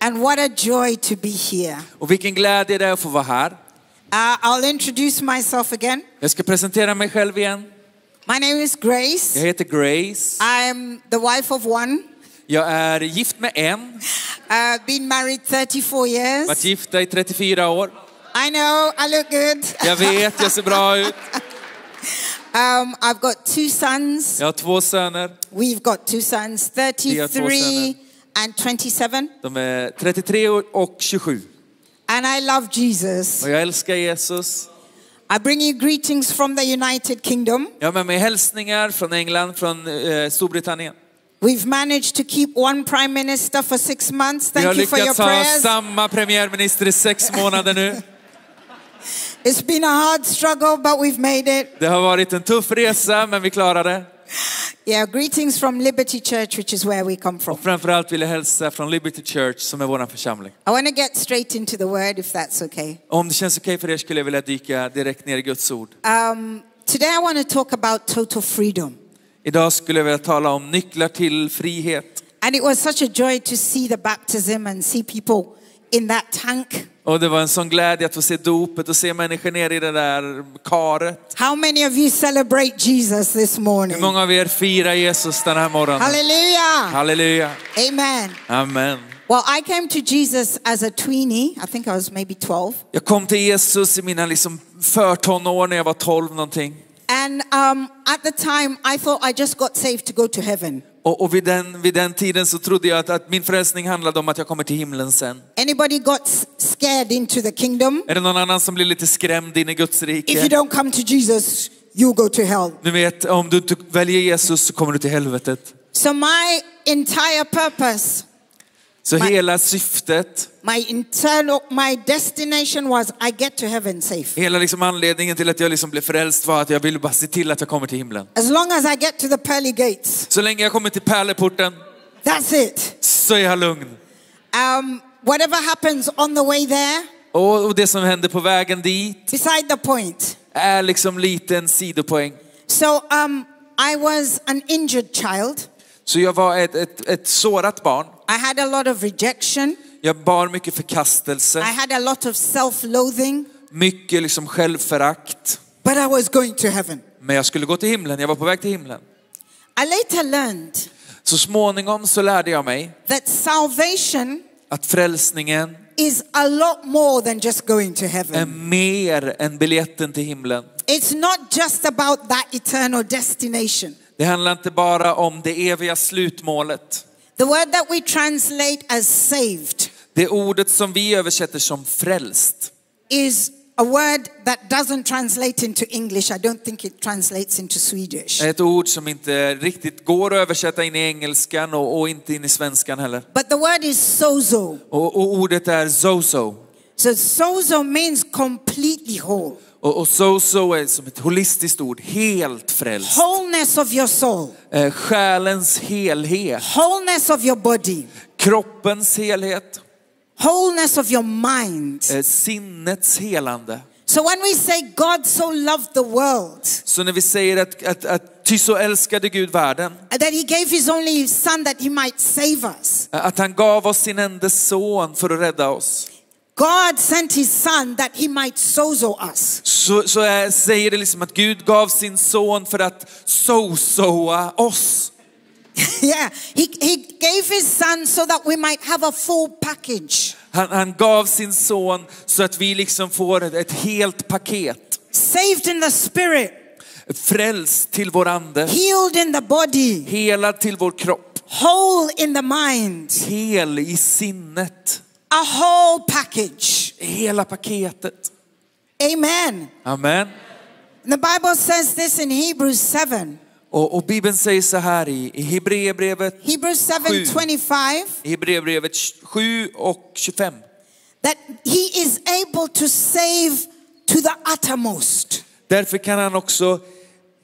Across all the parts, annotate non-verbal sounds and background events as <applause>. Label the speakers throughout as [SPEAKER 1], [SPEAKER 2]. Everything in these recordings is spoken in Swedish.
[SPEAKER 1] And what a joy to be here.
[SPEAKER 2] Och vilken glädje det är att få vara här.
[SPEAKER 1] Uh, I'll introduce myself again.
[SPEAKER 2] Jag ska presentera mig själv igen.
[SPEAKER 1] My name is Grace.
[SPEAKER 2] Jag heter Grace.
[SPEAKER 1] I'm the wife of one.
[SPEAKER 2] Jag är gift med en,
[SPEAKER 1] Uh, been married 34
[SPEAKER 2] varit
[SPEAKER 1] years.
[SPEAKER 2] gifta i 34 år.
[SPEAKER 1] I know, I look good.
[SPEAKER 2] Jag vet, jag ser bra ut.
[SPEAKER 1] Um, I've got two sons.
[SPEAKER 2] Jag har två söner.
[SPEAKER 1] We've got two sons,
[SPEAKER 2] Vi har två
[SPEAKER 1] 33
[SPEAKER 2] söner.
[SPEAKER 1] and 27.
[SPEAKER 2] De är 33 år och 27.
[SPEAKER 1] And I love Jesus.
[SPEAKER 2] Och jag älskar Jesus.
[SPEAKER 1] I bring you greetings from the United Kingdom.
[SPEAKER 2] Jag har med mig hälsningar från England, från eh, Storbritannien.
[SPEAKER 1] We've managed to keep one prime minister for six months.
[SPEAKER 2] Vi har
[SPEAKER 1] Thank you for your
[SPEAKER 2] lyckats ha
[SPEAKER 1] prayers.
[SPEAKER 2] samma premiärminister i sex månader nu.
[SPEAKER 1] It's been a hard struggle, but we've made it.
[SPEAKER 2] Det har varit en tuff resa, men vi klarade det.
[SPEAKER 1] Yeah, greetings from Liberty Church, which is where we come from.
[SPEAKER 2] Och framförallt vill jag hälsa från Liberty Church, som är vår församling.
[SPEAKER 1] I want to get straight into the word, if that's okay.
[SPEAKER 2] Om det känns okej för er skulle jag vilja dyka direkt ner i Guds ord.
[SPEAKER 1] Um, today, I want to talk about total freedom.
[SPEAKER 2] Idag skulle jag vilja tala om nycklar till frihet.
[SPEAKER 1] And it was such a joy to see the baptism and see people in that tank.
[SPEAKER 2] Och det var en sån glädje att få se dopet och se människor ner i det där karet.
[SPEAKER 1] How many of you celebrate Jesus this morning?
[SPEAKER 2] Hur många av er firar Jesus den här morgonen?
[SPEAKER 1] Hallelujah.
[SPEAKER 2] Halleluja.
[SPEAKER 1] Amen.
[SPEAKER 2] Amen.
[SPEAKER 1] Well, I came to Jesus as a tweenie. I think I was maybe 12.
[SPEAKER 2] Jag kom till Jesus i mina liksom förtonår när jag var 12 någonting.
[SPEAKER 1] And um, at the time, I thought I just got saved to go to heaven.
[SPEAKER 2] Och, och vid, den, vid den tiden så trodde jag att, att min frälsning handlade om att jag kommer till himlen sen.
[SPEAKER 1] Anybody got s- scared into the kingdom?
[SPEAKER 2] Är det någon annan som blir lite skrämd in i Guds
[SPEAKER 1] If you
[SPEAKER 2] rike?
[SPEAKER 1] don't come to Jesus, you'll go to hell.
[SPEAKER 2] Ni vet, om du inte väljer Jesus så kommer du till helvetet.
[SPEAKER 1] So, my entire purpose,
[SPEAKER 2] Så
[SPEAKER 1] Men-
[SPEAKER 2] hela syftet,
[SPEAKER 1] my internal, my destination was I get to heaven safe.
[SPEAKER 2] hela liksom anledningen till att jag liksom blev frälst var att jag ville bara se till att jag kommer till himlen.
[SPEAKER 1] As long as I get to the pearly gates,
[SPEAKER 2] Så länge jag kommer till pärleporten
[SPEAKER 1] that's it.
[SPEAKER 2] så är jag lugn.
[SPEAKER 1] Um, whatever happens on the way there,
[SPEAKER 2] Och, och det som händer på vägen dit
[SPEAKER 1] beside the point.
[SPEAKER 2] är liksom lite en sidopoäng.
[SPEAKER 1] So, um, I was an injured child.
[SPEAKER 2] Så jag var ett, ett, ett sårat barn.
[SPEAKER 1] I had a lot of rejection.
[SPEAKER 2] Jag bar mycket
[SPEAKER 1] I
[SPEAKER 2] förkastelse,
[SPEAKER 1] had a lot of self loathing,
[SPEAKER 2] mycket liksom självförakt.
[SPEAKER 1] but I was going to heaven.
[SPEAKER 2] Men jag skulle gå till himlen, jag var på väg till himlen.
[SPEAKER 1] I later learned
[SPEAKER 2] Så småningom så lärde jag mig
[SPEAKER 1] that salvation
[SPEAKER 2] att frälsningen
[SPEAKER 1] is a lot more than just going to
[SPEAKER 2] är
[SPEAKER 1] heaven.
[SPEAKER 2] mer än biljetten till himlen.
[SPEAKER 1] It's not just about that eternal destination.
[SPEAKER 2] Det handlar inte bara om det eviga slutmålet.
[SPEAKER 1] The word that we translate as saved
[SPEAKER 2] Det ordet som vi översätter som frälst,
[SPEAKER 1] is a word that doesn't translate into English. I don't think it translates into Swedish.
[SPEAKER 2] är ett ord som inte riktigt går att översätta in i engelskan och, och inte in i svenskan heller.
[SPEAKER 1] But the word is sozo.
[SPEAKER 2] Och, och ordet är zozo.
[SPEAKER 1] So sozo means completely whole,
[SPEAKER 2] Och, och zozo är som ett holistiskt ord, helt frälst.
[SPEAKER 1] wholeness of your soul,
[SPEAKER 2] Eh, själens helhet,
[SPEAKER 1] wholeness of your body,
[SPEAKER 2] kroppens helhet,
[SPEAKER 1] wholeness of your mind.
[SPEAKER 2] eh, sinnets helande.
[SPEAKER 1] So when we say God so loved the world
[SPEAKER 2] Så när vi säger att, att, att ty så älskade Gud världen,
[SPEAKER 1] that he gave his only son that he might save us.
[SPEAKER 2] att han gav oss sin enda son för att rädda oss,
[SPEAKER 1] God sent his son that he might sozo us. <laughs>
[SPEAKER 2] så, så är, säger det liksom att Gud gav sin son för att so-soa oss.
[SPEAKER 1] yeah, he, he gave his son so that we might have a full package.
[SPEAKER 2] Han, han gav sin son så att vi liksom får ett, ett helt paket.
[SPEAKER 1] Saved in the spirit,
[SPEAKER 2] Frälst till vår ande,
[SPEAKER 1] healed in the body,
[SPEAKER 2] helad till vår kropp,
[SPEAKER 1] whole in the mind.
[SPEAKER 2] hel i sinnet.
[SPEAKER 1] A whole package.
[SPEAKER 2] Hela paketet.
[SPEAKER 1] Amen.
[SPEAKER 2] Amen.
[SPEAKER 1] The Bible says this in Hebrews 7.
[SPEAKER 2] Och, och Bibeln säger så här i, i Hebreerbrevet
[SPEAKER 1] Hebrews 7
[SPEAKER 2] Sju.
[SPEAKER 1] 25.
[SPEAKER 2] I Hebreerbrevet 7 och 25.
[SPEAKER 1] that he is able to save to the uttermost.
[SPEAKER 2] Därför kan han också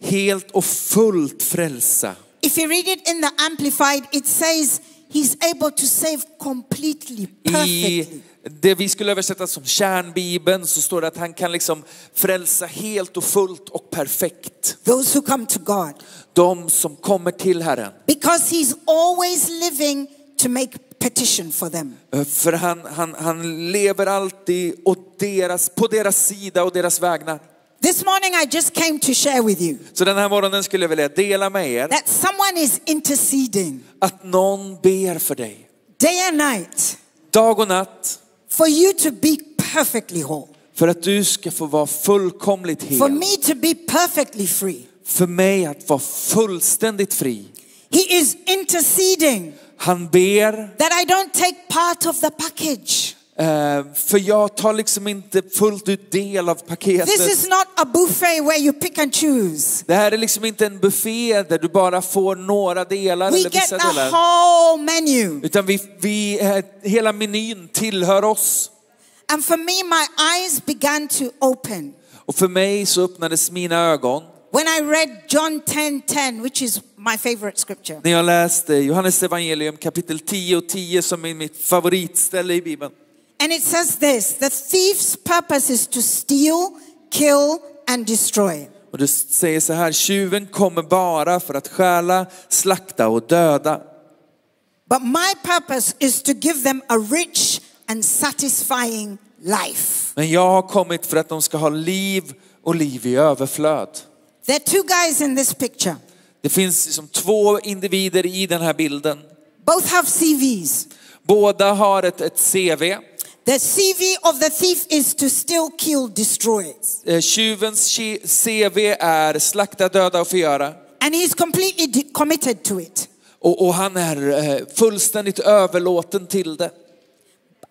[SPEAKER 2] helt och fullt frälsa.
[SPEAKER 1] If you read it in the Amplified, it says he's able to save completely,
[SPEAKER 2] I
[SPEAKER 1] perfectly.
[SPEAKER 2] det vi skulle översätta som kärnbibeln så står det att han kan liksom frälsa helt och fullt och perfekt.
[SPEAKER 1] Those who come to God.
[SPEAKER 2] De som kommer till Herren.
[SPEAKER 1] Because he's always living to make petition for them.
[SPEAKER 2] För han, han, han lever alltid åt deras, på deras sida och deras vägnar.
[SPEAKER 1] This morning, I just came to share with you
[SPEAKER 2] Så den här morgonen skulle jag vilja dela med er
[SPEAKER 1] that someone is interceding
[SPEAKER 2] att någon ber för dig.
[SPEAKER 1] day and night
[SPEAKER 2] Dag och natt.
[SPEAKER 1] for you to be perfectly whole,
[SPEAKER 2] För att du ska få vara fullkomligt
[SPEAKER 1] for
[SPEAKER 2] hel.
[SPEAKER 1] me to be perfectly free.
[SPEAKER 2] För mig att vara fullständigt fri.
[SPEAKER 1] He is interceding
[SPEAKER 2] Han ber
[SPEAKER 1] that I don't take part of the package.
[SPEAKER 2] Eh, för jag tar liksom inte fullt ut del av
[SPEAKER 1] This
[SPEAKER 2] paketet.
[SPEAKER 1] is not a buffet where you pick and choose.
[SPEAKER 2] Det här är liksom inte en buffé där du bara får några delar
[SPEAKER 1] We
[SPEAKER 2] eller
[SPEAKER 1] get
[SPEAKER 2] vissa
[SPEAKER 1] a
[SPEAKER 2] delar.
[SPEAKER 1] whole menu.
[SPEAKER 2] Utan vi, vi, eh, hela menyn tillhör oss.
[SPEAKER 1] And for me, my eyes began to open
[SPEAKER 2] Och för mig så öppnades mina ögon
[SPEAKER 1] when I read John 10 10, which is my favorite scripture.
[SPEAKER 2] när jag läste Johannes evangelium kapitel 10 och 10 som är mitt favoritställe i Bibeln.
[SPEAKER 1] And it says this the thief's purpose is to steal, kill, and destroy.
[SPEAKER 2] Och det säger så här, tjuven kommer bara för att stjäla, slakta och döda.
[SPEAKER 1] But my purpose is to give them a rich and satisfying life.
[SPEAKER 2] Men jag har kommit för att de ska ha liv och liv i överflöd.
[SPEAKER 1] There are two guys in this picture.
[SPEAKER 2] Det finns liksom två individer i den här bilden.
[SPEAKER 1] Both have CVs.
[SPEAKER 2] Båda har ett, ett CV.
[SPEAKER 1] The CV of the thief is to steal, kill, destroy.
[SPEAKER 2] Eh, Tjuvens ki- CV är slakta, döda och förgöra.
[SPEAKER 1] And he's completely de- committed to it.
[SPEAKER 2] Och, och han är eh, fullständigt överlåten till det.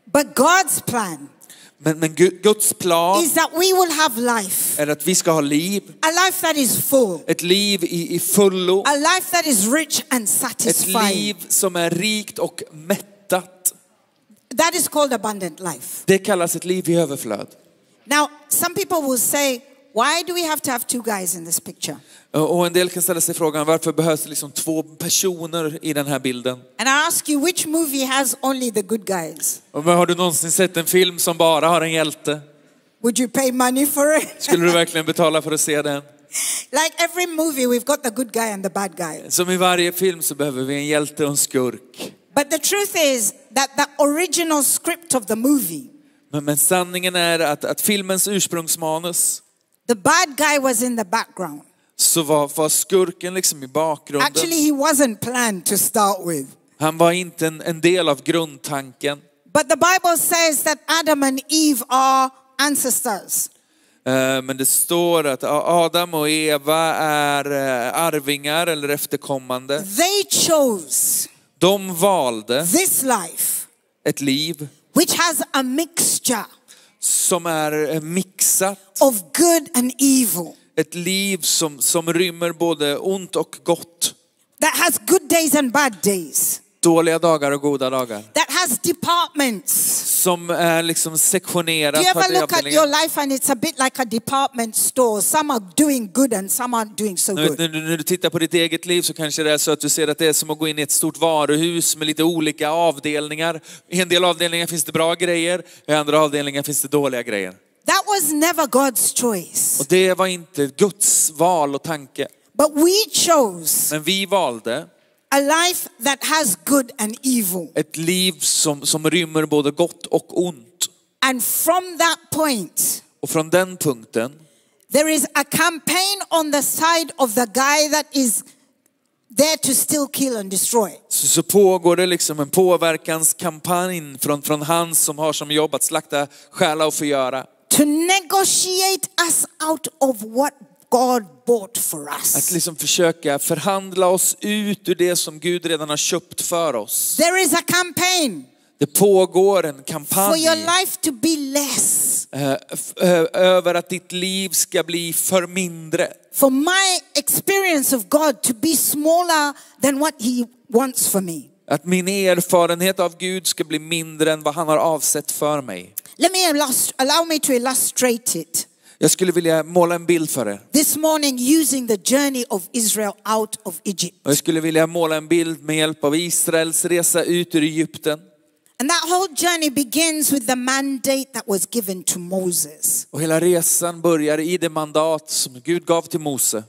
[SPEAKER 1] But God's plan
[SPEAKER 2] Men, men Gu- Guds plan
[SPEAKER 1] is that we will have life,
[SPEAKER 2] är att vi ska ha liv.
[SPEAKER 1] a life that is full,
[SPEAKER 2] Ett liv i, i fullo.
[SPEAKER 1] a life that is rich and
[SPEAKER 2] Ett
[SPEAKER 1] satisfying.
[SPEAKER 2] liv som är rikt och mättat.
[SPEAKER 1] That is called abundant life.
[SPEAKER 2] Det kallas ett liv i överflöd.
[SPEAKER 1] Now, some people will say, why do we have to have two guys in this picture?
[SPEAKER 2] Eh, Och och en del kan ställa sig frågan varför behövs det liksom två personer i den här bilden?
[SPEAKER 1] And I ask you, which movie has only the good guys?
[SPEAKER 2] Och men Har du någonsin sett en film som bara har en hjälte?
[SPEAKER 1] Would you pay money for it?
[SPEAKER 2] Skulle du verkligen betala för att se den?
[SPEAKER 1] <laughs> like every movie, we've got the good guy and the bad guy.
[SPEAKER 2] Som i varje film så behöver vi en hjälte och en skurk.
[SPEAKER 1] But the truth is that the original script of the movie,
[SPEAKER 2] Men, men sanningen är att, att filmens ursprungsmanus
[SPEAKER 1] the bad guy was in the background.
[SPEAKER 2] så var, var skurken liksom i bakgrunden.
[SPEAKER 1] Actually, he wasn't planned to start with.
[SPEAKER 2] Han var inte en, en del av grundtanken.
[SPEAKER 1] But the Bible says that Adam and Eve are ancestors.
[SPEAKER 2] Eh, Men det står att A- Adam och Eva är eh, arvingar eller efterkommande.
[SPEAKER 1] They chose
[SPEAKER 2] De valde
[SPEAKER 1] this life,
[SPEAKER 2] ett liv
[SPEAKER 1] which has a mixture
[SPEAKER 2] som är eh, mixat
[SPEAKER 1] of good and evil,
[SPEAKER 2] Ett liv som, som rymmer både ont och gott.
[SPEAKER 1] that has good days and bad days,
[SPEAKER 2] Dåliga dagar och goda dagar.
[SPEAKER 1] that has departments.
[SPEAKER 2] Som är liksom sektionerat.
[SPEAKER 1] Do you
[SPEAKER 2] per
[SPEAKER 1] ever look at
[SPEAKER 2] avdelningar.
[SPEAKER 1] your life and it's a bit like a department store? Some are doing good and some aren't doing so
[SPEAKER 2] När,
[SPEAKER 1] good.
[SPEAKER 2] när, du- när du tittar på ditt eget liv så kanske det är så att du ser att det är som att gå in i ett stort varuhus med lite olika avdelningar. I en del avdelningar finns det bra grejer, i andra avdelningar finns det dåliga grejer.
[SPEAKER 1] That was never God's choice.
[SPEAKER 2] Och det var inte Guds val och tanke.
[SPEAKER 1] But we chose
[SPEAKER 2] Men vi valde
[SPEAKER 1] a life that has good and evil.
[SPEAKER 2] ett liv som, som rymmer både gott och ont.
[SPEAKER 1] And from that point,
[SPEAKER 2] Och från den punkten
[SPEAKER 1] There is a campaign on the side of the guy that is there to still kill and destroy.
[SPEAKER 2] så, så pågår det liksom en påverkanskampanj från, från han som har som jobb att slakta, stjäla och förgöra.
[SPEAKER 1] To negotiate us out of what God bought for
[SPEAKER 2] Att
[SPEAKER 1] us.
[SPEAKER 2] liksom försöka förhandla oss ut ur det som Gud redan har köpt för oss.
[SPEAKER 1] There is a campaign
[SPEAKER 2] Det pågår en
[SPEAKER 1] for
[SPEAKER 2] kampanj
[SPEAKER 1] your life to be less,
[SPEAKER 2] eh, f- eh, över att ditt liv ska bli för mindre.
[SPEAKER 1] for my experience of God to be smaller than what He wants for me.
[SPEAKER 2] Att min erfarenhet av Gud ska bli mindre än vad han har avsett för mig.
[SPEAKER 1] Let me illust- allow me to illustrate it
[SPEAKER 2] Jag skulle vilja måla en bild för er.
[SPEAKER 1] this morning using the journey of Israel out of Egypt.
[SPEAKER 2] Och jag skulle vilja måla en bild med hjälp av Israels resa ut ur Egypten.
[SPEAKER 1] And that whole journey begins with the mandate that was given to Moses.
[SPEAKER 2] Och hela resan börjar i det mandat som Gud gav till Mose.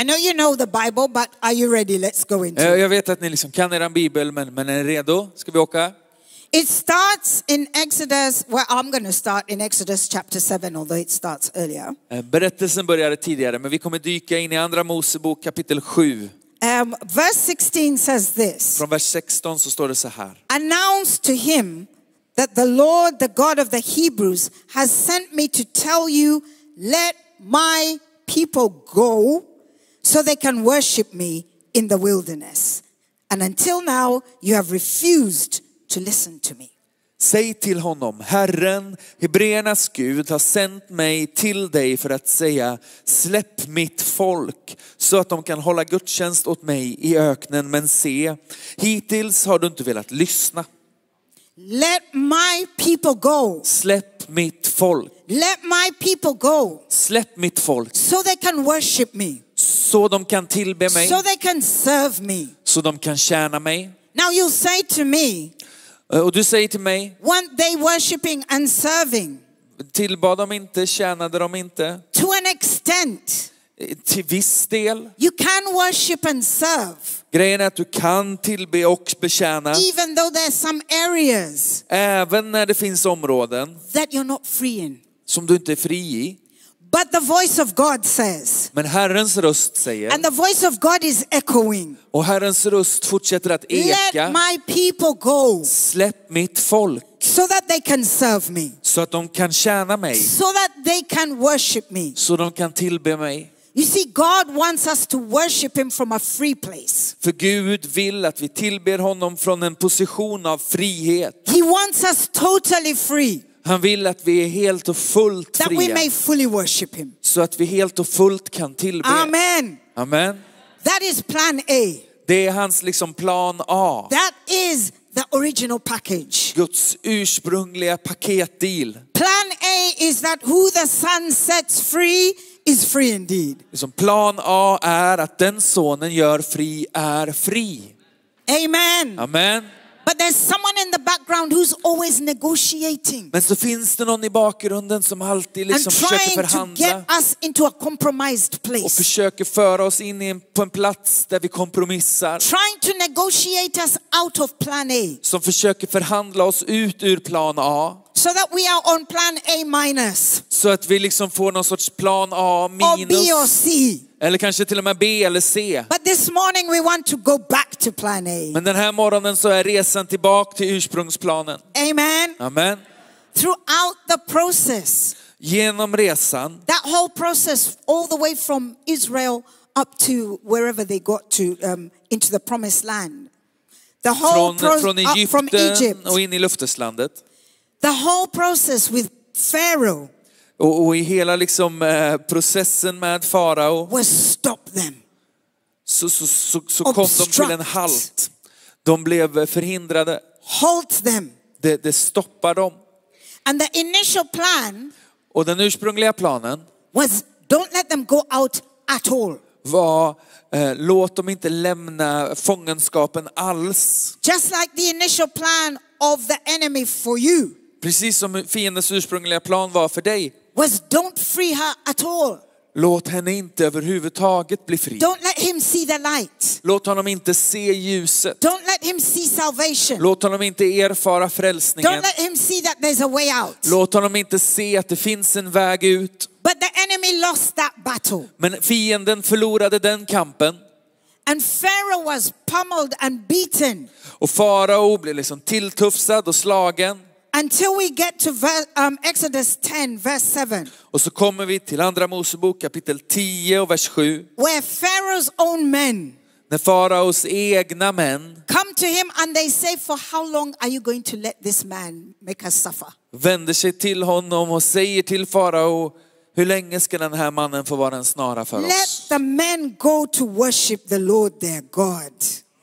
[SPEAKER 1] I know you know the Bible, but are you ready? Let's go into
[SPEAKER 2] Eh,
[SPEAKER 1] it.
[SPEAKER 2] Jag vet att ni liksom kan er bibel, men, men är ni redo? Ska vi åka?
[SPEAKER 1] It starts in Exodus, well, I'm going to start in Exodus chapter 7, although it starts earlier.
[SPEAKER 2] Eh, Berättelsen började tidigare, men vi kommer dyka in i Andra Mosebok kapitel 7.
[SPEAKER 1] Um, verse 16 says this
[SPEAKER 2] Från vers 16 så står det så här.
[SPEAKER 1] Announce to him that the Lord, the God of the Hebrews, has sent me to tell you, let my people go so they can worship me in the wilderness. And until now, you have refused to listen to me.
[SPEAKER 2] Säg till honom, Herren, Hebreernas Gud har sänt mig till dig för att säga, släpp mitt folk så att de kan hålla gudstjänst åt mig i öknen. Men se, hittills har du inte velat lyssna.
[SPEAKER 1] Let my people go.
[SPEAKER 2] Släpp mitt folk,
[SPEAKER 1] Let my people go.
[SPEAKER 2] släpp mitt folk
[SPEAKER 1] so they can worship me,
[SPEAKER 2] så de kan tillbe mig,
[SPEAKER 1] so they can serve me.
[SPEAKER 2] så de kan tjäna mig.
[SPEAKER 1] Now you'll say to me,
[SPEAKER 2] Eh, Och du säger till mig,
[SPEAKER 1] weren't they worshiping and serving
[SPEAKER 2] tillbad de inte, tjänade de inte.
[SPEAKER 1] to an extent?
[SPEAKER 2] Eh, Till viss del.
[SPEAKER 1] You can worship and serve,
[SPEAKER 2] Grejen är att du kan tillbe och betjäna.
[SPEAKER 1] even though there's some areas
[SPEAKER 2] Även när det finns områden
[SPEAKER 1] that you're not free in.
[SPEAKER 2] som du inte är fri i.
[SPEAKER 1] But the voice of God says,
[SPEAKER 2] Men Herrens röst säger,
[SPEAKER 1] and the voice of God is echoing,
[SPEAKER 2] och Herrens röst fortsätter att
[SPEAKER 1] let
[SPEAKER 2] eka,
[SPEAKER 1] my people go
[SPEAKER 2] släpp mitt folk
[SPEAKER 1] so that they can serve me,
[SPEAKER 2] så att de kan tjäna mig,
[SPEAKER 1] so that they can worship me.
[SPEAKER 2] så de kan tillbe mig.
[SPEAKER 1] You see, God wants us to worship Him from a free place.
[SPEAKER 2] För Gud vill att vi tillber honom från en position av frihet.
[SPEAKER 1] He wants us totally free
[SPEAKER 2] Han vill att vi är helt och fullt
[SPEAKER 1] that we may
[SPEAKER 2] fria,
[SPEAKER 1] fully worship Him.
[SPEAKER 2] så att vi helt och fullt kan tillbe.
[SPEAKER 1] Amen.
[SPEAKER 2] Amen.
[SPEAKER 1] That is plan A.
[SPEAKER 2] Det är hans liksom plan A.
[SPEAKER 1] That is the original package.
[SPEAKER 2] Guds ursprungliga paketdeal.
[SPEAKER 1] Plan A is that who the Son sets free is free indeed.
[SPEAKER 2] Liksom plan A är att den sonen gör fri är fri.
[SPEAKER 1] Amen.
[SPEAKER 2] Amen.
[SPEAKER 1] But there's someone in the background who's always negotiating
[SPEAKER 2] Men så finns det någon i bakgrunden som alltid
[SPEAKER 1] and
[SPEAKER 2] liksom försöker
[SPEAKER 1] trying to
[SPEAKER 2] förhandla
[SPEAKER 1] get us into a compromised
[SPEAKER 2] och
[SPEAKER 1] place,
[SPEAKER 2] försöker föra oss in i en, på en plats där vi kompromissar.
[SPEAKER 1] trying to negotiate us out of plan A
[SPEAKER 2] Som försöker förhandla oss ut ur plan A.
[SPEAKER 1] so that we are on plan A minus
[SPEAKER 2] Så att vi liksom får någon sorts plan A
[SPEAKER 1] or B or
[SPEAKER 2] minus.
[SPEAKER 1] C.
[SPEAKER 2] Eller kanske till och med B eller C.
[SPEAKER 1] But this morning we want to go back to plan A.
[SPEAKER 2] Men den här morgonen så är resan tillbaka till ursprungsplanen.
[SPEAKER 1] Amen.
[SPEAKER 2] Amen.
[SPEAKER 1] Throughout the process,
[SPEAKER 2] Genom resan,
[SPEAKER 1] that whole process, all the way from Israel up to wherever they got to, um, into the promised land. The whole
[SPEAKER 2] från,
[SPEAKER 1] process
[SPEAKER 2] från
[SPEAKER 1] from Egypt. uh,
[SPEAKER 2] Egypten och in i löfteslandet.
[SPEAKER 1] The whole process with Pharaoh
[SPEAKER 2] Och, och i hela liksom, eh, processen med farao
[SPEAKER 1] was stop them.
[SPEAKER 2] så, så, så, så kom de till en
[SPEAKER 1] Obstruct.
[SPEAKER 2] halt. De blev förhindrade.
[SPEAKER 1] Halt them.
[SPEAKER 2] Det, det stoppar dem.
[SPEAKER 1] And the initial plan
[SPEAKER 2] Och den ursprungliga planen
[SPEAKER 1] was don't let them go out at all.
[SPEAKER 2] var eh, låt dem inte lämna fångenskapen alls.
[SPEAKER 1] Just like the initial plan of the enemy for you.
[SPEAKER 2] Precis som fiendens ursprungliga plan var för dig.
[SPEAKER 1] was don't free her at all.
[SPEAKER 2] Låt henne inte överhuvudtaget bli fri.
[SPEAKER 1] Don't let him see the light.
[SPEAKER 2] Låt honom inte se ljuset.
[SPEAKER 1] Don't let him see salvation.
[SPEAKER 2] Låt honom inte erfara frälsningen.
[SPEAKER 1] Don't let him see that there's a way out.
[SPEAKER 2] Låt honom inte se att det finns en väg ut.
[SPEAKER 1] But the enemy lost that battle.
[SPEAKER 2] Men fienden förlorade den kampen
[SPEAKER 1] And Pharaoh was pummeled and beaten
[SPEAKER 2] och farao blev liksom tilltufsad och slagen.
[SPEAKER 1] until we get to ver- um, Exodus 10, verse 7,
[SPEAKER 2] Och så kommer vi till Andra Mosebok kapitel 10 och vers 7.
[SPEAKER 1] where Pharaoh's own men
[SPEAKER 2] När faraos egna män
[SPEAKER 1] come to him and they say, For how long are you going to let this man make us suffer?
[SPEAKER 2] vänder sig till honom och säger till farao, hur länge ska den här mannen få vara en snara för
[SPEAKER 1] Let
[SPEAKER 2] oss?
[SPEAKER 1] the men go to worship the Lord their God.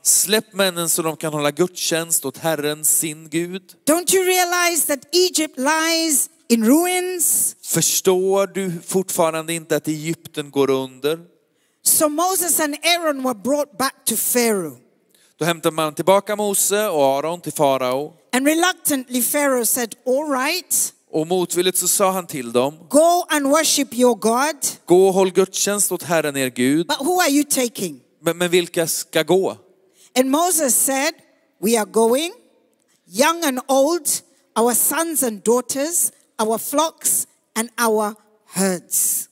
[SPEAKER 2] Släpp männen så de kan hålla gudstjänst åt Herren, sin Gud.
[SPEAKER 1] Don't you realize that Egypt lies in ruins?
[SPEAKER 2] Förstår du fortfarande inte att Egypten går under?
[SPEAKER 1] So Moses and Aaron were brought back to Pharaoh.
[SPEAKER 2] Då hämtar man tillbaka Mose och Aron till farao.
[SPEAKER 1] And reluctantly, Pharaoh said, All right,
[SPEAKER 2] Och motvilligt så sa han till dem,
[SPEAKER 1] Go and worship your God.
[SPEAKER 2] gå och håll gudstjänst åt Herren er Gud.
[SPEAKER 1] But who are you taking?
[SPEAKER 2] Men, men vilka ska gå?
[SPEAKER 1] And Moses said, We are going, young and old, our sons and daughters, our flocks and our herds.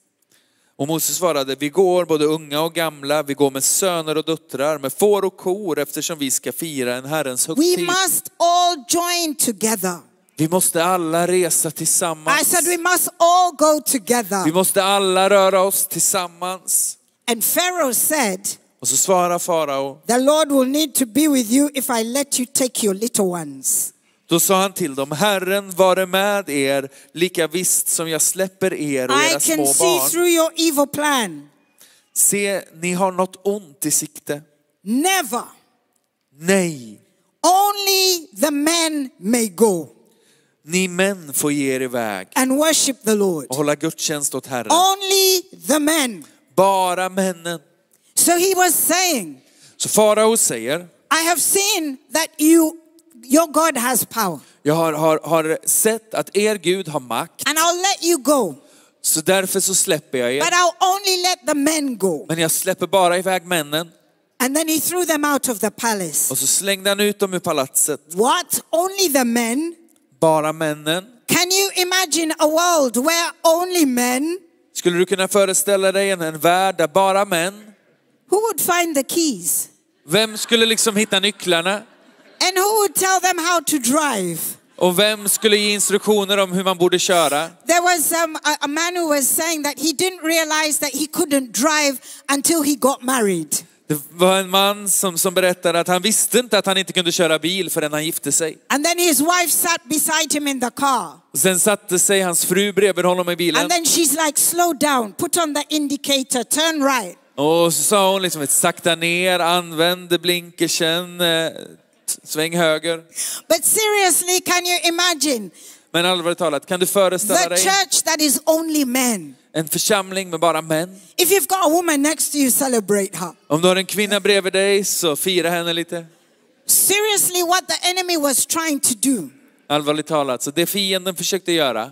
[SPEAKER 2] Och Mose svarade, vi går både unga och gamla, vi går med söner och döttrar, med får och kor eftersom vi ska fira en Herrens
[SPEAKER 1] We
[SPEAKER 2] högtid.
[SPEAKER 1] must all join together.
[SPEAKER 2] Vi måste alla resa
[SPEAKER 1] I said,
[SPEAKER 2] tillsammans.
[SPEAKER 1] We must all go together.
[SPEAKER 2] Vi måste alla röra oss tillsammans.
[SPEAKER 1] And Pharaoh said,
[SPEAKER 2] Och så svarar farao,
[SPEAKER 1] The Lord will need to be with you if I let you take your little ones.
[SPEAKER 2] då sa han till dem, Herren vare med er lika visst som jag släpper er och
[SPEAKER 1] I
[SPEAKER 2] era
[SPEAKER 1] can
[SPEAKER 2] små
[SPEAKER 1] see
[SPEAKER 2] barn.
[SPEAKER 1] through your evil plan.
[SPEAKER 2] Se, ni har något ont i sikte.
[SPEAKER 1] Never.
[SPEAKER 2] Nej,
[SPEAKER 1] Only the men may go
[SPEAKER 2] ni män får ge er iväg
[SPEAKER 1] and worship the Lord.
[SPEAKER 2] och hålla gudstjänst åt Herren.
[SPEAKER 1] Only the men.
[SPEAKER 2] Bara männen.
[SPEAKER 1] So he was saying,
[SPEAKER 2] Så farao säger,
[SPEAKER 1] I have seen that you, your God has power,
[SPEAKER 2] jag har, har, har sett att er Gud har makt,
[SPEAKER 1] and I'll let you go,
[SPEAKER 2] så därför så släpper jag
[SPEAKER 1] but
[SPEAKER 2] er.
[SPEAKER 1] I'll only let the men go.
[SPEAKER 2] Men jag släpper bara iväg männen.
[SPEAKER 1] And then he threw them out of the palace.
[SPEAKER 2] Och så slängde han ut dem ur palatset.
[SPEAKER 1] What? Only the men?
[SPEAKER 2] Bara männen.
[SPEAKER 1] Can you imagine a world where only men?
[SPEAKER 2] Skulle du kunna föreställa dig en, en värld där bara män?
[SPEAKER 1] Who would find the keys?
[SPEAKER 2] Vem skulle liksom hitta nycklarna?
[SPEAKER 1] And who would tell them how to drive?
[SPEAKER 2] Och vem skulle ge instruktioner om hur man borde köra?
[SPEAKER 1] There was um, a, a man who was saying that he didn't realize that he couldn't drive until he got married.
[SPEAKER 2] Det var en man som, som berättade att han visste inte att han inte kunde köra bil förrän han gifte sig.
[SPEAKER 1] And then his wife sat beside him in the car.
[SPEAKER 2] Och sen satte sig hans fru bredvid honom i bilen
[SPEAKER 1] And then she's like, slow down, put on the indicator, turn right.
[SPEAKER 2] och så sa hon liksom sakta ner, använd blinkersen, eh, t- sväng höger.
[SPEAKER 1] But seriously, can you imagine
[SPEAKER 2] Men allvarligt talat, kan du föreställa
[SPEAKER 1] the
[SPEAKER 2] dig
[SPEAKER 1] church that is only men?
[SPEAKER 2] en församling med bara män?
[SPEAKER 1] If you've got a woman next to you, celebrate her.
[SPEAKER 2] Om du har en kvinna bredvid dig så fira henne lite.
[SPEAKER 1] Seriously, what the enemy was trying to do
[SPEAKER 2] Allvarligt talat, så det fienden försökte göra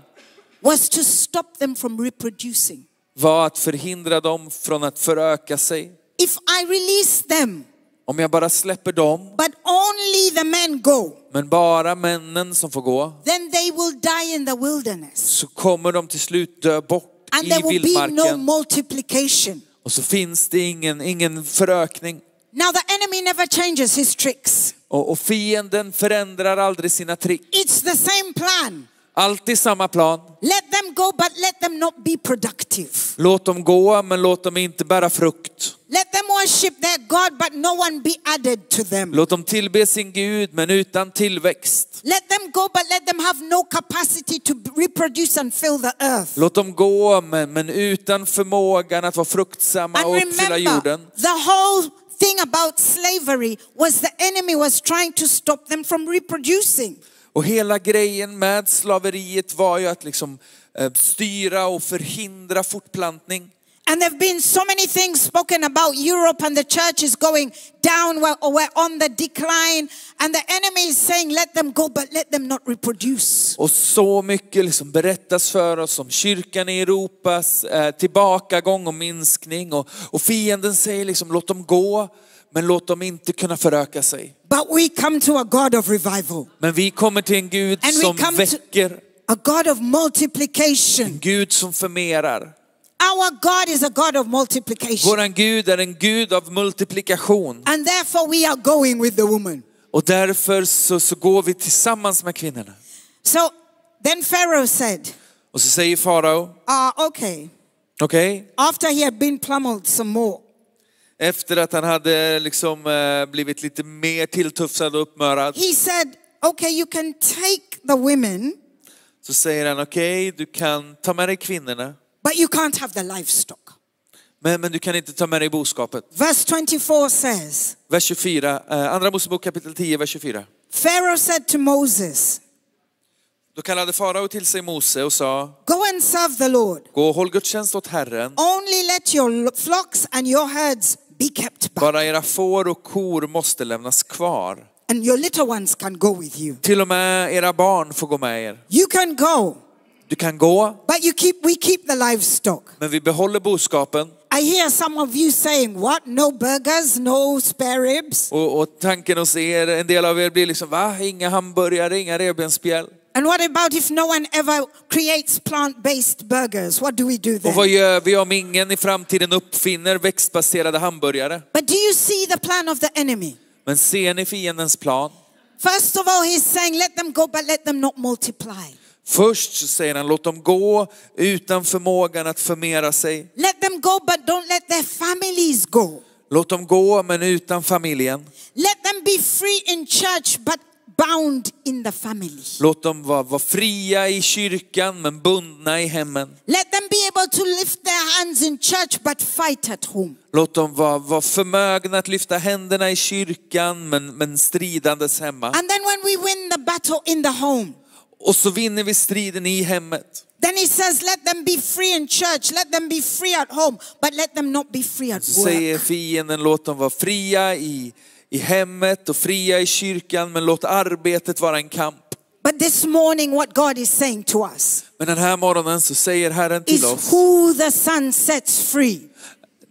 [SPEAKER 1] was to stop them from reproducing.
[SPEAKER 2] var att förhindra dem från att föröka sig.
[SPEAKER 1] If I release them,
[SPEAKER 2] Om jag bara släpper dem,
[SPEAKER 1] but only the men go,
[SPEAKER 2] men bara männen som får gå,
[SPEAKER 1] then they will die in the wilderness.
[SPEAKER 2] så kommer de till slut dö bort
[SPEAKER 1] And
[SPEAKER 2] i
[SPEAKER 1] there will be no
[SPEAKER 2] vildmarken.
[SPEAKER 1] multiplication.
[SPEAKER 2] Och så finns det ingen, ingen förökning.
[SPEAKER 1] Now, the enemy never changes his tricks,
[SPEAKER 2] Och, och fienden förändrar aldrig sina trick.
[SPEAKER 1] it's the same plan.
[SPEAKER 2] Alltid samma plan.
[SPEAKER 1] Let them go, but let them not be productive.
[SPEAKER 2] Låt dem gå, men låt dem inte bära frukt.
[SPEAKER 1] Let them worship their God, but no one be added to them.
[SPEAKER 2] Låt dem tillbe sin Gud, men utan tillväxt.
[SPEAKER 1] Let them go, but let them have no capacity to reproduce and fill the earth.
[SPEAKER 2] Låt dem gå, men, men utan förmågan att vara fruktsamma
[SPEAKER 1] And
[SPEAKER 2] och uppfylla
[SPEAKER 1] remember,
[SPEAKER 2] jorden.
[SPEAKER 1] the whole thing about slavery was the enemy was trying to stop them from reproducing.
[SPEAKER 2] Och hela grejen med slaveriet var ju att liksom eh, styra och förhindra fortplantning.
[SPEAKER 1] And there have been so many things spoken about Europe, and the church is going down, we're, we're on the decline. And the enemy is saying, Let them go, but let them not reproduce.
[SPEAKER 2] Och så mycket liksom berättas för oss om kyrkan i Europas eh, tillbakagång och minskning. Och, och fienden säger liksom, låt dem gå, men låt dem inte kunna föröka sig.
[SPEAKER 1] But we come to a God of revival,
[SPEAKER 2] Men vi kommer till en Gud
[SPEAKER 1] And we
[SPEAKER 2] som
[SPEAKER 1] come to-
[SPEAKER 2] väcker,
[SPEAKER 1] a God of multiplication.
[SPEAKER 2] en Gud som förmerar.
[SPEAKER 1] Our God is a God of multiplication.
[SPEAKER 2] Våran Gud är en Gud av multiplikation.
[SPEAKER 1] And therefore, we are going with the woman.
[SPEAKER 2] Och därför så, så går vi tillsammans med kvinnorna.
[SPEAKER 1] So then Pharaoh said,
[SPEAKER 2] Och så säger farao,
[SPEAKER 1] Ah, okay.
[SPEAKER 2] okej,
[SPEAKER 1] After he had been pummeled some more,
[SPEAKER 2] efter att han hade liksom eh, blivit lite mer tilltufsad och uppmörad
[SPEAKER 1] he said, Okay, you can take the women,
[SPEAKER 2] så säger han okej, du kan ta med dig kvinnorna,
[SPEAKER 1] but you can't have the livestock.
[SPEAKER 2] men, men du kan inte ta med dig boskapet.
[SPEAKER 1] Verse 24 says,
[SPEAKER 2] Vers 24, eh, andra Mosebok kapitel 10, vers 24.
[SPEAKER 1] Pharaoh said to Moses,
[SPEAKER 2] Då kallade farao till sig Mose och sa,
[SPEAKER 1] Go and serve the Lord.
[SPEAKER 2] gå och håll gudstjänst åt Herren,
[SPEAKER 1] Only let your flocks and your herds be kept back,
[SPEAKER 2] bara era får och kor måste lämnas kvar.
[SPEAKER 1] and your little ones can go with you.
[SPEAKER 2] Till och med era barn får gå med er.
[SPEAKER 1] You can go,
[SPEAKER 2] Du kan gå,
[SPEAKER 1] but you keep, we keep the livestock.
[SPEAKER 2] men vi behåller boskapen.
[SPEAKER 1] I hear some of you saying, What? No burgers, no spare ribs?
[SPEAKER 2] Och, och tanken hos er, en del av er blir liksom va? Inga hamburgare, inga revbensspjäll.
[SPEAKER 1] And what about if no one ever creates plant based burgers? What do we do
[SPEAKER 2] Och vad
[SPEAKER 1] then?
[SPEAKER 2] gör vi om ingen i framtiden uppfinner växtbaserade hamburgare?
[SPEAKER 1] But do you see the plan of the enemy?
[SPEAKER 2] Men ser ni fiendens plan?
[SPEAKER 1] First of all, he's saying, Let them go, but let them not multiply.
[SPEAKER 2] Först så säger han, låt dem gå utan förmågan att förmera sig.
[SPEAKER 1] Let them go, but don't let their families go.
[SPEAKER 2] Låt dem gå, men utan familjen.
[SPEAKER 1] Let them be free in church, but bound in the family.
[SPEAKER 2] Låt dem vara, vara fria i kyrkan, men bundna i hemmen.
[SPEAKER 1] Let them be able to lift their hands in church, but fight at home.
[SPEAKER 2] Låt dem vara, vara förmögna att lyfta händerna i kyrkan, men, men stridandes hemma.
[SPEAKER 1] And then when we win the battle in the home,
[SPEAKER 2] Och så vinner vi striden i hemmet.
[SPEAKER 1] then he says, let them be free in church, let them be free at home, but let them not be free at
[SPEAKER 2] Så säger
[SPEAKER 1] work.
[SPEAKER 2] fienden, låt dem vara fria i, i hemmet och fria i kyrkan, men låt arbetet vara en kamp.
[SPEAKER 1] But this morning, what God is saying to us
[SPEAKER 2] Men den här morgonen så säger Herren till
[SPEAKER 1] is
[SPEAKER 2] oss,
[SPEAKER 1] who the Son sets free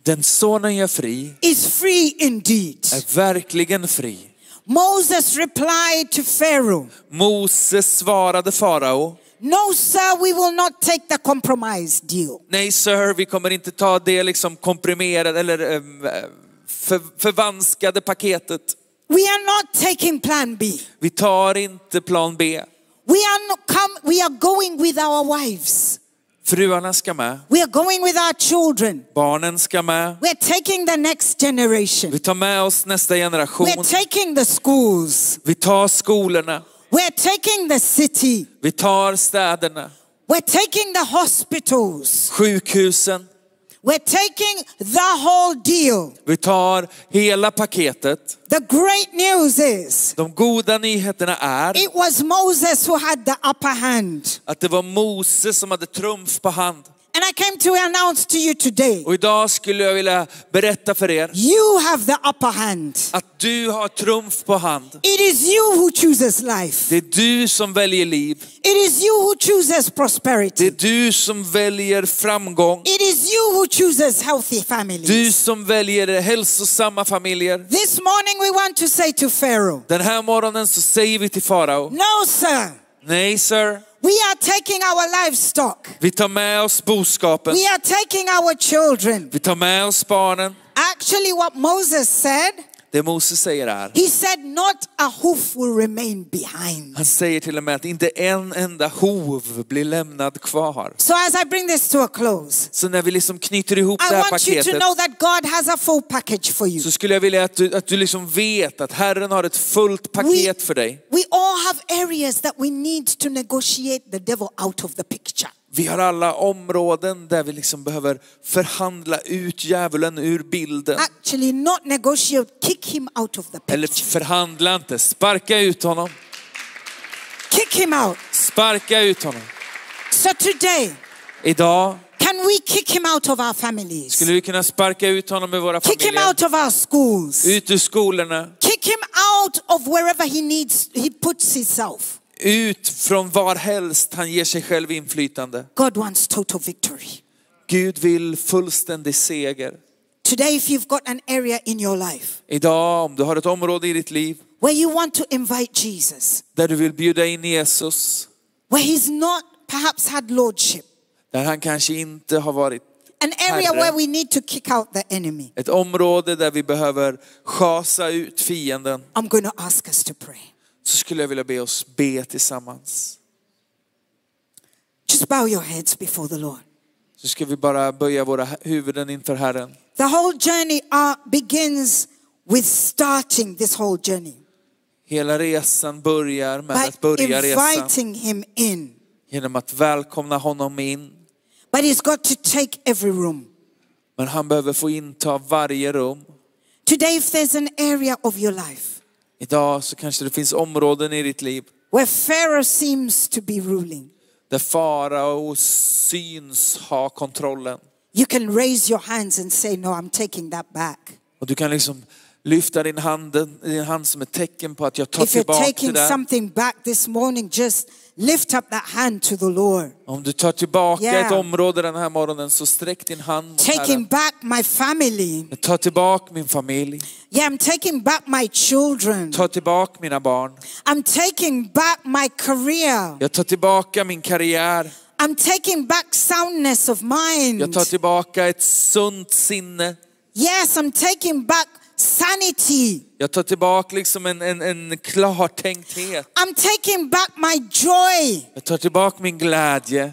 [SPEAKER 2] den sonen gör fri
[SPEAKER 1] is free indeed.
[SPEAKER 2] är verkligen fri.
[SPEAKER 1] Moses replied to Pharaoh,
[SPEAKER 2] Moses svarade farao,
[SPEAKER 1] No, sir, we will not take the compromise deal.
[SPEAKER 2] nej sir, vi kommer inte ta det liksom komprimerade eller ehm, för, förvanskade paketet.
[SPEAKER 1] We are not taking plan B.
[SPEAKER 2] Vi tar inte plan B.
[SPEAKER 1] We are not come, we are going with our wives.
[SPEAKER 2] Fruarna ska med,
[SPEAKER 1] We are going with our children.
[SPEAKER 2] barnen ska med.
[SPEAKER 1] We're taking the next generation.
[SPEAKER 2] Vi tar med oss nästa
[SPEAKER 1] We're
[SPEAKER 2] generation.
[SPEAKER 1] taking the schools.
[SPEAKER 2] Vi tar skolorna.
[SPEAKER 1] We're taking the city.
[SPEAKER 2] Vi tar städerna,
[SPEAKER 1] We're taking the hospitals.
[SPEAKER 2] sjukhusen.
[SPEAKER 1] We're taking the whole deal.
[SPEAKER 2] Vi tar hela paketet.
[SPEAKER 1] The great news is
[SPEAKER 2] De goda nyheterna är
[SPEAKER 1] it was Moses who had the upper hand.
[SPEAKER 2] att det var Moses som hade trumf på hand.
[SPEAKER 1] And I came to announce to you today
[SPEAKER 2] Och idag skulle jag vilja berätta för er
[SPEAKER 1] you have the upper hand.
[SPEAKER 2] att du har trumf på hand.
[SPEAKER 1] It is you who chooses life,
[SPEAKER 2] Det är du som väljer liv.
[SPEAKER 1] it is you who chooses
[SPEAKER 2] Det är
[SPEAKER 1] prosperity,
[SPEAKER 2] du som väljer framgång.
[SPEAKER 1] it is you who chooses healthy
[SPEAKER 2] Du
[SPEAKER 1] families.
[SPEAKER 2] som väljer hälsosamma familjer.
[SPEAKER 1] This morning, we want to say to Pharaoh,
[SPEAKER 2] Den här morgonen så säger vi till farao,
[SPEAKER 1] No, sir.
[SPEAKER 2] nej sir,
[SPEAKER 1] We are taking our livestock.
[SPEAKER 2] vi tar med oss boskapen.
[SPEAKER 1] We are taking our children.
[SPEAKER 2] Vi tar med oss barnen.
[SPEAKER 1] Actually, what Moses said,
[SPEAKER 2] Det Moses säger är,
[SPEAKER 1] he said, Not a hoof will remain behind.
[SPEAKER 2] han säger till och med att inte en enda hov blir lämnad kvar.
[SPEAKER 1] So, as I bring this to a close,
[SPEAKER 2] Så när vi liksom knyter ihop det
[SPEAKER 1] I
[SPEAKER 2] här
[SPEAKER 1] want you to
[SPEAKER 2] paketet
[SPEAKER 1] know that God has a full package for you.
[SPEAKER 2] så skulle jag vilja att du, att du liksom vet att Herren har ett fullt
[SPEAKER 1] We,
[SPEAKER 2] paket för dig.
[SPEAKER 1] we all have areas that we need to negotiate the devil out of the picture.
[SPEAKER 2] Vi har alla områden där vi liksom behöver förhandla ut djävulen ur bilden.
[SPEAKER 1] Actually, not negotiate, kick him out of the
[SPEAKER 2] Eller
[SPEAKER 1] picture.
[SPEAKER 2] förhandla inte, sparka ut honom.
[SPEAKER 1] Kick him out.
[SPEAKER 2] Sparka ut honom.
[SPEAKER 1] So, today,
[SPEAKER 2] Idag
[SPEAKER 1] can we kick him out of our families?
[SPEAKER 2] skulle vi kunna sparka ut honom ur våra
[SPEAKER 1] Kick him
[SPEAKER 2] familjer.
[SPEAKER 1] out of our schools.
[SPEAKER 2] Ut ur skolorna,
[SPEAKER 1] Kick him out of wherever he needs, he puts himself.
[SPEAKER 2] ut från varhelst han ger sig själv inflytande.
[SPEAKER 1] God wants total victory.
[SPEAKER 2] Gud vill fullständig seger.
[SPEAKER 1] Today, if you've got an area in your life
[SPEAKER 2] Idag, om du har ett område i ditt liv
[SPEAKER 1] where you want to invite Jesus,
[SPEAKER 2] där du vill bjuda in Jesus,
[SPEAKER 1] where he's not perhaps had lordship,
[SPEAKER 2] där han kanske inte har varit
[SPEAKER 1] an area
[SPEAKER 2] Herre.
[SPEAKER 1] where we need to kick out the enemy,
[SPEAKER 2] ett område där vi behöver schasa ut fienden,
[SPEAKER 1] I'm going to ask us to pray.
[SPEAKER 2] så skulle jag vilja be oss be tillsammans.
[SPEAKER 1] Just bow your heads before the Lord.
[SPEAKER 2] Så ska vi bara böja våra huvuden inför Herren.
[SPEAKER 1] The whole journey uh, begins with starting this whole journey
[SPEAKER 2] Hela resan börjar med
[SPEAKER 1] by
[SPEAKER 2] att börja resan
[SPEAKER 1] inviting him in.
[SPEAKER 2] genom att välkomna honom in.
[SPEAKER 1] But he's got to take every room.
[SPEAKER 2] Men han behöver få inta varje rum.
[SPEAKER 1] Today, if there's an area of your life
[SPEAKER 2] Idag så kanske det finns områden i ditt liv
[SPEAKER 1] where Pharaoh seems to be ruling,
[SPEAKER 2] där farao syns ha kontrollen.
[SPEAKER 1] you can raise your hands and say, No, I'm taking that back.
[SPEAKER 2] Och du kan liksom lyfta din hand, din hand som ett tecken på att jag tar
[SPEAKER 1] If you're
[SPEAKER 2] tillbaka det
[SPEAKER 1] taking
[SPEAKER 2] där.
[SPEAKER 1] something back this morning, just lift up that hand to the Lord.
[SPEAKER 2] Om du tar tillbaka
[SPEAKER 1] Yeah.
[SPEAKER 2] ett område den här morgonen så sträck din hand mot
[SPEAKER 1] Taking
[SPEAKER 2] Herren.
[SPEAKER 1] back my family.
[SPEAKER 2] Jag tar tillbaka min familj.
[SPEAKER 1] Yeah, I'm taking back my children.
[SPEAKER 2] Ta tillbaka mina barn.
[SPEAKER 1] I'm taking back my career.
[SPEAKER 2] Jag tar tillbaka min karriär.
[SPEAKER 1] I'm taking back soundness of
[SPEAKER 2] Jag
[SPEAKER 1] mind.
[SPEAKER 2] tar tillbaka ett sunt sinne.
[SPEAKER 1] Yes, I'm taking back sanity.
[SPEAKER 2] Jag tar tillbaka liksom en, en, en klartänkthet.
[SPEAKER 1] I'm taking back my joy.
[SPEAKER 2] Jag tar tillbaka min glädje.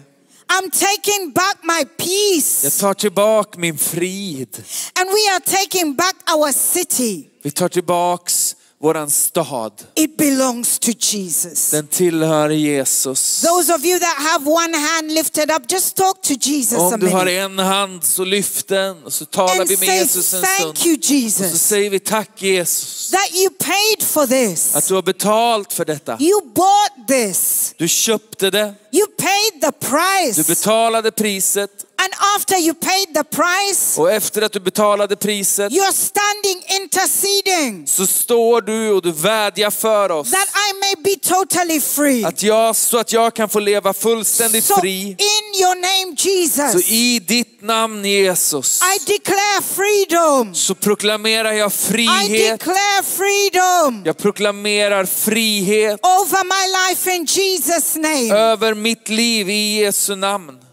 [SPEAKER 1] I'm taking back my
[SPEAKER 2] Jag
[SPEAKER 1] peace.
[SPEAKER 2] tar tillbaka min frid.
[SPEAKER 1] And we are taking back our city.
[SPEAKER 2] Vi tar tillbaks våran stad.
[SPEAKER 1] It belongs to Jesus.
[SPEAKER 2] Den tillhör Jesus.
[SPEAKER 1] Those of you that have one hand lifted up, just talk to Jesus a
[SPEAKER 2] Om du har
[SPEAKER 1] minute.
[SPEAKER 2] en hand så lyft den och så talar
[SPEAKER 1] And
[SPEAKER 2] vi med
[SPEAKER 1] say,
[SPEAKER 2] Jesus en stund.
[SPEAKER 1] thank you,
[SPEAKER 2] Och så
[SPEAKER 1] Jesus,
[SPEAKER 2] säger vi tack Jesus
[SPEAKER 1] that you paid for
[SPEAKER 2] att
[SPEAKER 1] this.
[SPEAKER 2] du har betalt för detta.
[SPEAKER 1] You bought this.
[SPEAKER 2] Du köpte det,
[SPEAKER 1] You paid the
[SPEAKER 2] du
[SPEAKER 1] price.
[SPEAKER 2] betalade priset
[SPEAKER 1] And after you paid the price,
[SPEAKER 2] och efter att du betalade priset
[SPEAKER 1] You're standing interceding
[SPEAKER 2] så står du och du vädjar för oss
[SPEAKER 1] that I may be totally free.
[SPEAKER 2] att jag, så att jag kan få leva fullständigt
[SPEAKER 1] So
[SPEAKER 2] fri.
[SPEAKER 1] in your name,
[SPEAKER 2] Så
[SPEAKER 1] Jesus,
[SPEAKER 2] i ditt namn Jesus
[SPEAKER 1] I declare freedom.
[SPEAKER 2] så proklamerar jag
[SPEAKER 1] I
[SPEAKER 2] frihet.
[SPEAKER 1] declare freedom
[SPEAKER 2] Jag proklamerar frihet
[SPEAKER 1] over my life in Jesus' name.
[SPEAKER 2] Uh, över mitt liv i Jesu namn.